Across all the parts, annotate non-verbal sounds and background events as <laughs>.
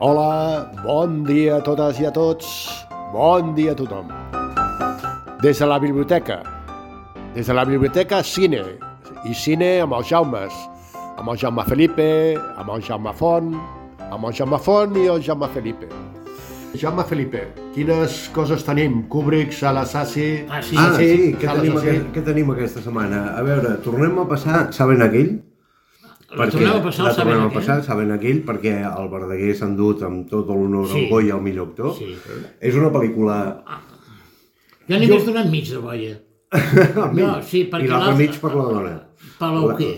Hola, bon dia a totes i a tots. Bon dia a tothom. Des de la biblioteca. Des de la biblioteca, cine. I cine amb els Jaumes. Amb el Jaume Felipe, amb el Jaume Font, amb el Jaume Font i el Jaume Felipe. Jaume Felipe, quines coses tenim? Kubrick, Salasasi... Ah, sí, Ah, sí, què, Salas tenim Sassi. aquest, què tenim aquesta setmana? A veure, tornem a passar, saben aquell? La torneu a passar, la el saben tornem a aquell. passar, saben aquell, perquè el Verdaguer s'ha endut amb tot l'honor Sí. sí. al Goya, el millor actor. Sí. És una pel·lícula... Jo n'hi vaig donar mig de <laughs> boia. No, sí, perquè I l'altre mig per la dona. Per l'auquer.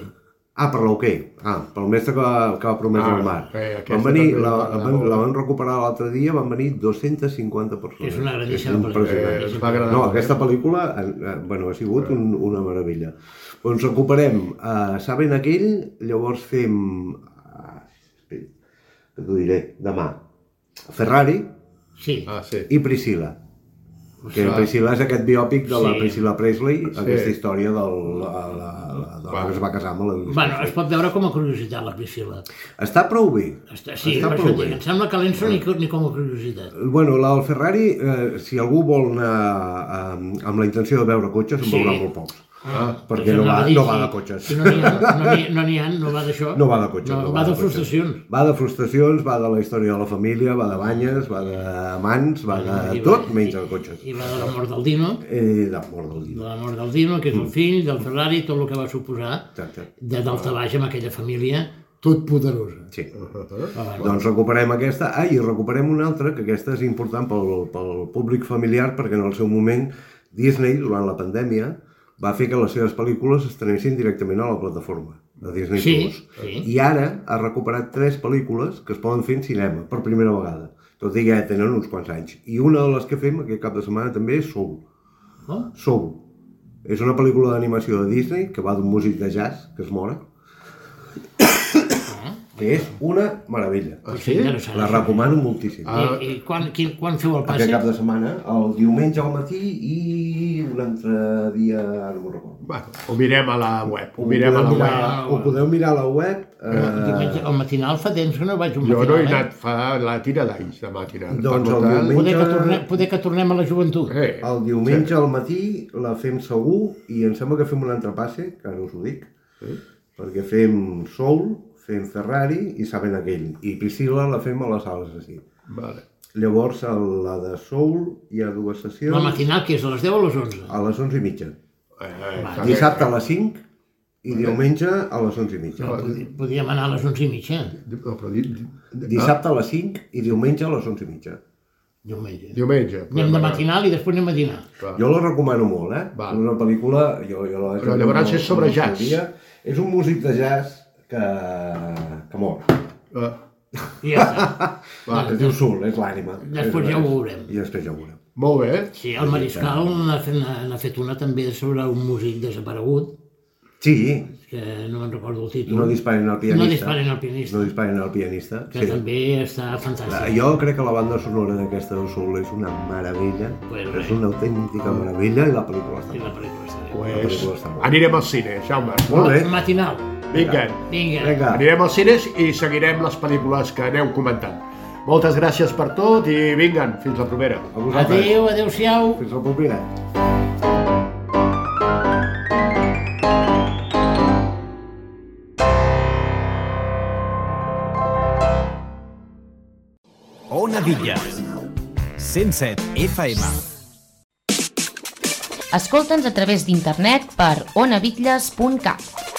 Ah, per l'Oquer. Ah, pel mestre que va, que va prometre Ah, el mar. bé, aquesta van venir, també la, va la, agradar van, molt. la van recuperar l'altre dia, van venir 250 persones. És una grandíssima És pel·lícula. impressionant. Eh, ens va agradar No, molt. aquesta pel·lícula eh, eh, bueno, ha sigut un, una meravella. Doncs recuperem eh, Saben aquell, llavors fem... Ah, espera, que t'ho diré, demà. Ferrari Sí. Ah, sí. i Priscila. Que Ostres. Priscila és aquest biòpic de la Sí. Priscila Presley, Sí. aquesta història de la, la, la dona que es va casar amb la Elvis Bueno, es Presley. pot veure com a curiositat la Priscila. Està prou bé. Està, sí, Està per prou això et dic, bé. em sembla que l'Enso ni, co- ni com a curiositat. Bueno, la del Ferrari, eh, si algú vol anar eh, amb la intenció de veure cotxes, en Sí. veurà molt pocs. Ah, perquè Això no va, dir, no va sí. de cotxes. Sí, no n'hi ha, no n'hi- no n'hi ha, no va d'això. No va de cotxes. No, no va de cotxes. frustracions. Va de frustracions, va de la història de la família, va de banyes, va de mans, va de I tot, va- menys i- de cotxes. I va de la mort del Dino, Eh, la mort del de llibre. la mort del Dino, que és el Mm. fill del Ferrari, tot el que va suposar Exacte. de dalt a baix amb aquella família tot poderosa. Sí. Però bueno, Doncs recuperem aquesta. Ah, i recuperem una altra, que aquesta és important pel, pel públic familiar, perquè en el seu moment Disney, durant la pandèmia, va fer que les seves pel·lícules estrenessin directament a la plataforma de Disney+. Sí, Plus. sí. I ara ha recuperat tres pel·lícules que es poden fer en cinema, per primera vegada. Tot i que ja tenen uns quants anys. I una de les que fem aquest cap de setmana també és Soul. no? Soul. És una pel·lícula d'animació de Disney que va d'un músic de jazz que es mora. Ah. que és una meravella. Ah, Pot sí? ser interessant, La això. recomano moltíssim. Ah, I, i quan, quin, quan feu el passe? Aquest cap de setmana, el diumenge al matí i un altre dia, ara no me'n recordo. Bueno, ho mirem a la web, ho mirem a la podeu web. mirar- Ho podeu mirar a la web. El diumenge, Eh, el matinal fa temps que no vaig a un Jo matinal. no he eh? anat fa la tira d'anys, demà tirar. Doncs Per el tant, diumenge- Poder que, tornem, poder que tornem a la joventut. Eh, el diumenge al matí la fem segur i em sembla que fem un altre passe, que ara us ho dic, perquè fem Soul, fem Ferrari i saben aquell. I Priscila la fem a les sales així. Vale. Llavors, a la de Soul hi ha dues sessions La matinal, que és a les 10 o a les 11? a les 11 i mitja. Eh, eh, Va, també. Dissabte a les 5 i diumenge a les 11 i mitja. No, pod- podríem anar a les 11 i mitja, No, però di, di, Dissabte a les 5 i diumenge a les 11 i mitja. ah, diumenge. diumenge. Anem de matinal i després anem a dinar. Va. Jo la recomano molt, eh? Val. És una pel·lícula... Jo, jo la Però llavors és sobre no jazz. sabia. És un músic de jazz que, que mor. Ah, I ja <laughs> està. Va, es diu Sul, és l'ànima. Després És- ja ho veurem. I després ja ho veurem. molt bé. Sí, el Mariscal n'ha fet, n'ha fet una també sobre un músic desaparegut, Sí, que no me'n recordo el títol, no disparen al pianista. No disparen al pianista. No disparen al pianista. que també està fantàstic. Jo crec que la banda sonora d'aquesta del Soul és una meravella. Pues és bé. una autèntica meravella i la pel·lícula està I la molt bé. pel·lícula està bé. Pues, pel·lícula està molt bé. anirem al cine, Jaume. Molt bé. Matinal. Vinga. Vinga. Vinga. Anirem als cines i seguirem les pel·lícules que aneu comentant. Moltes gràcies per tot i vinga, fins la propera. A vosaltres. Adéu, adéu-siau. Fins la propera. Ona Villa. 107 FM. Escolta'ns a través d'internet per onavitlles.cat.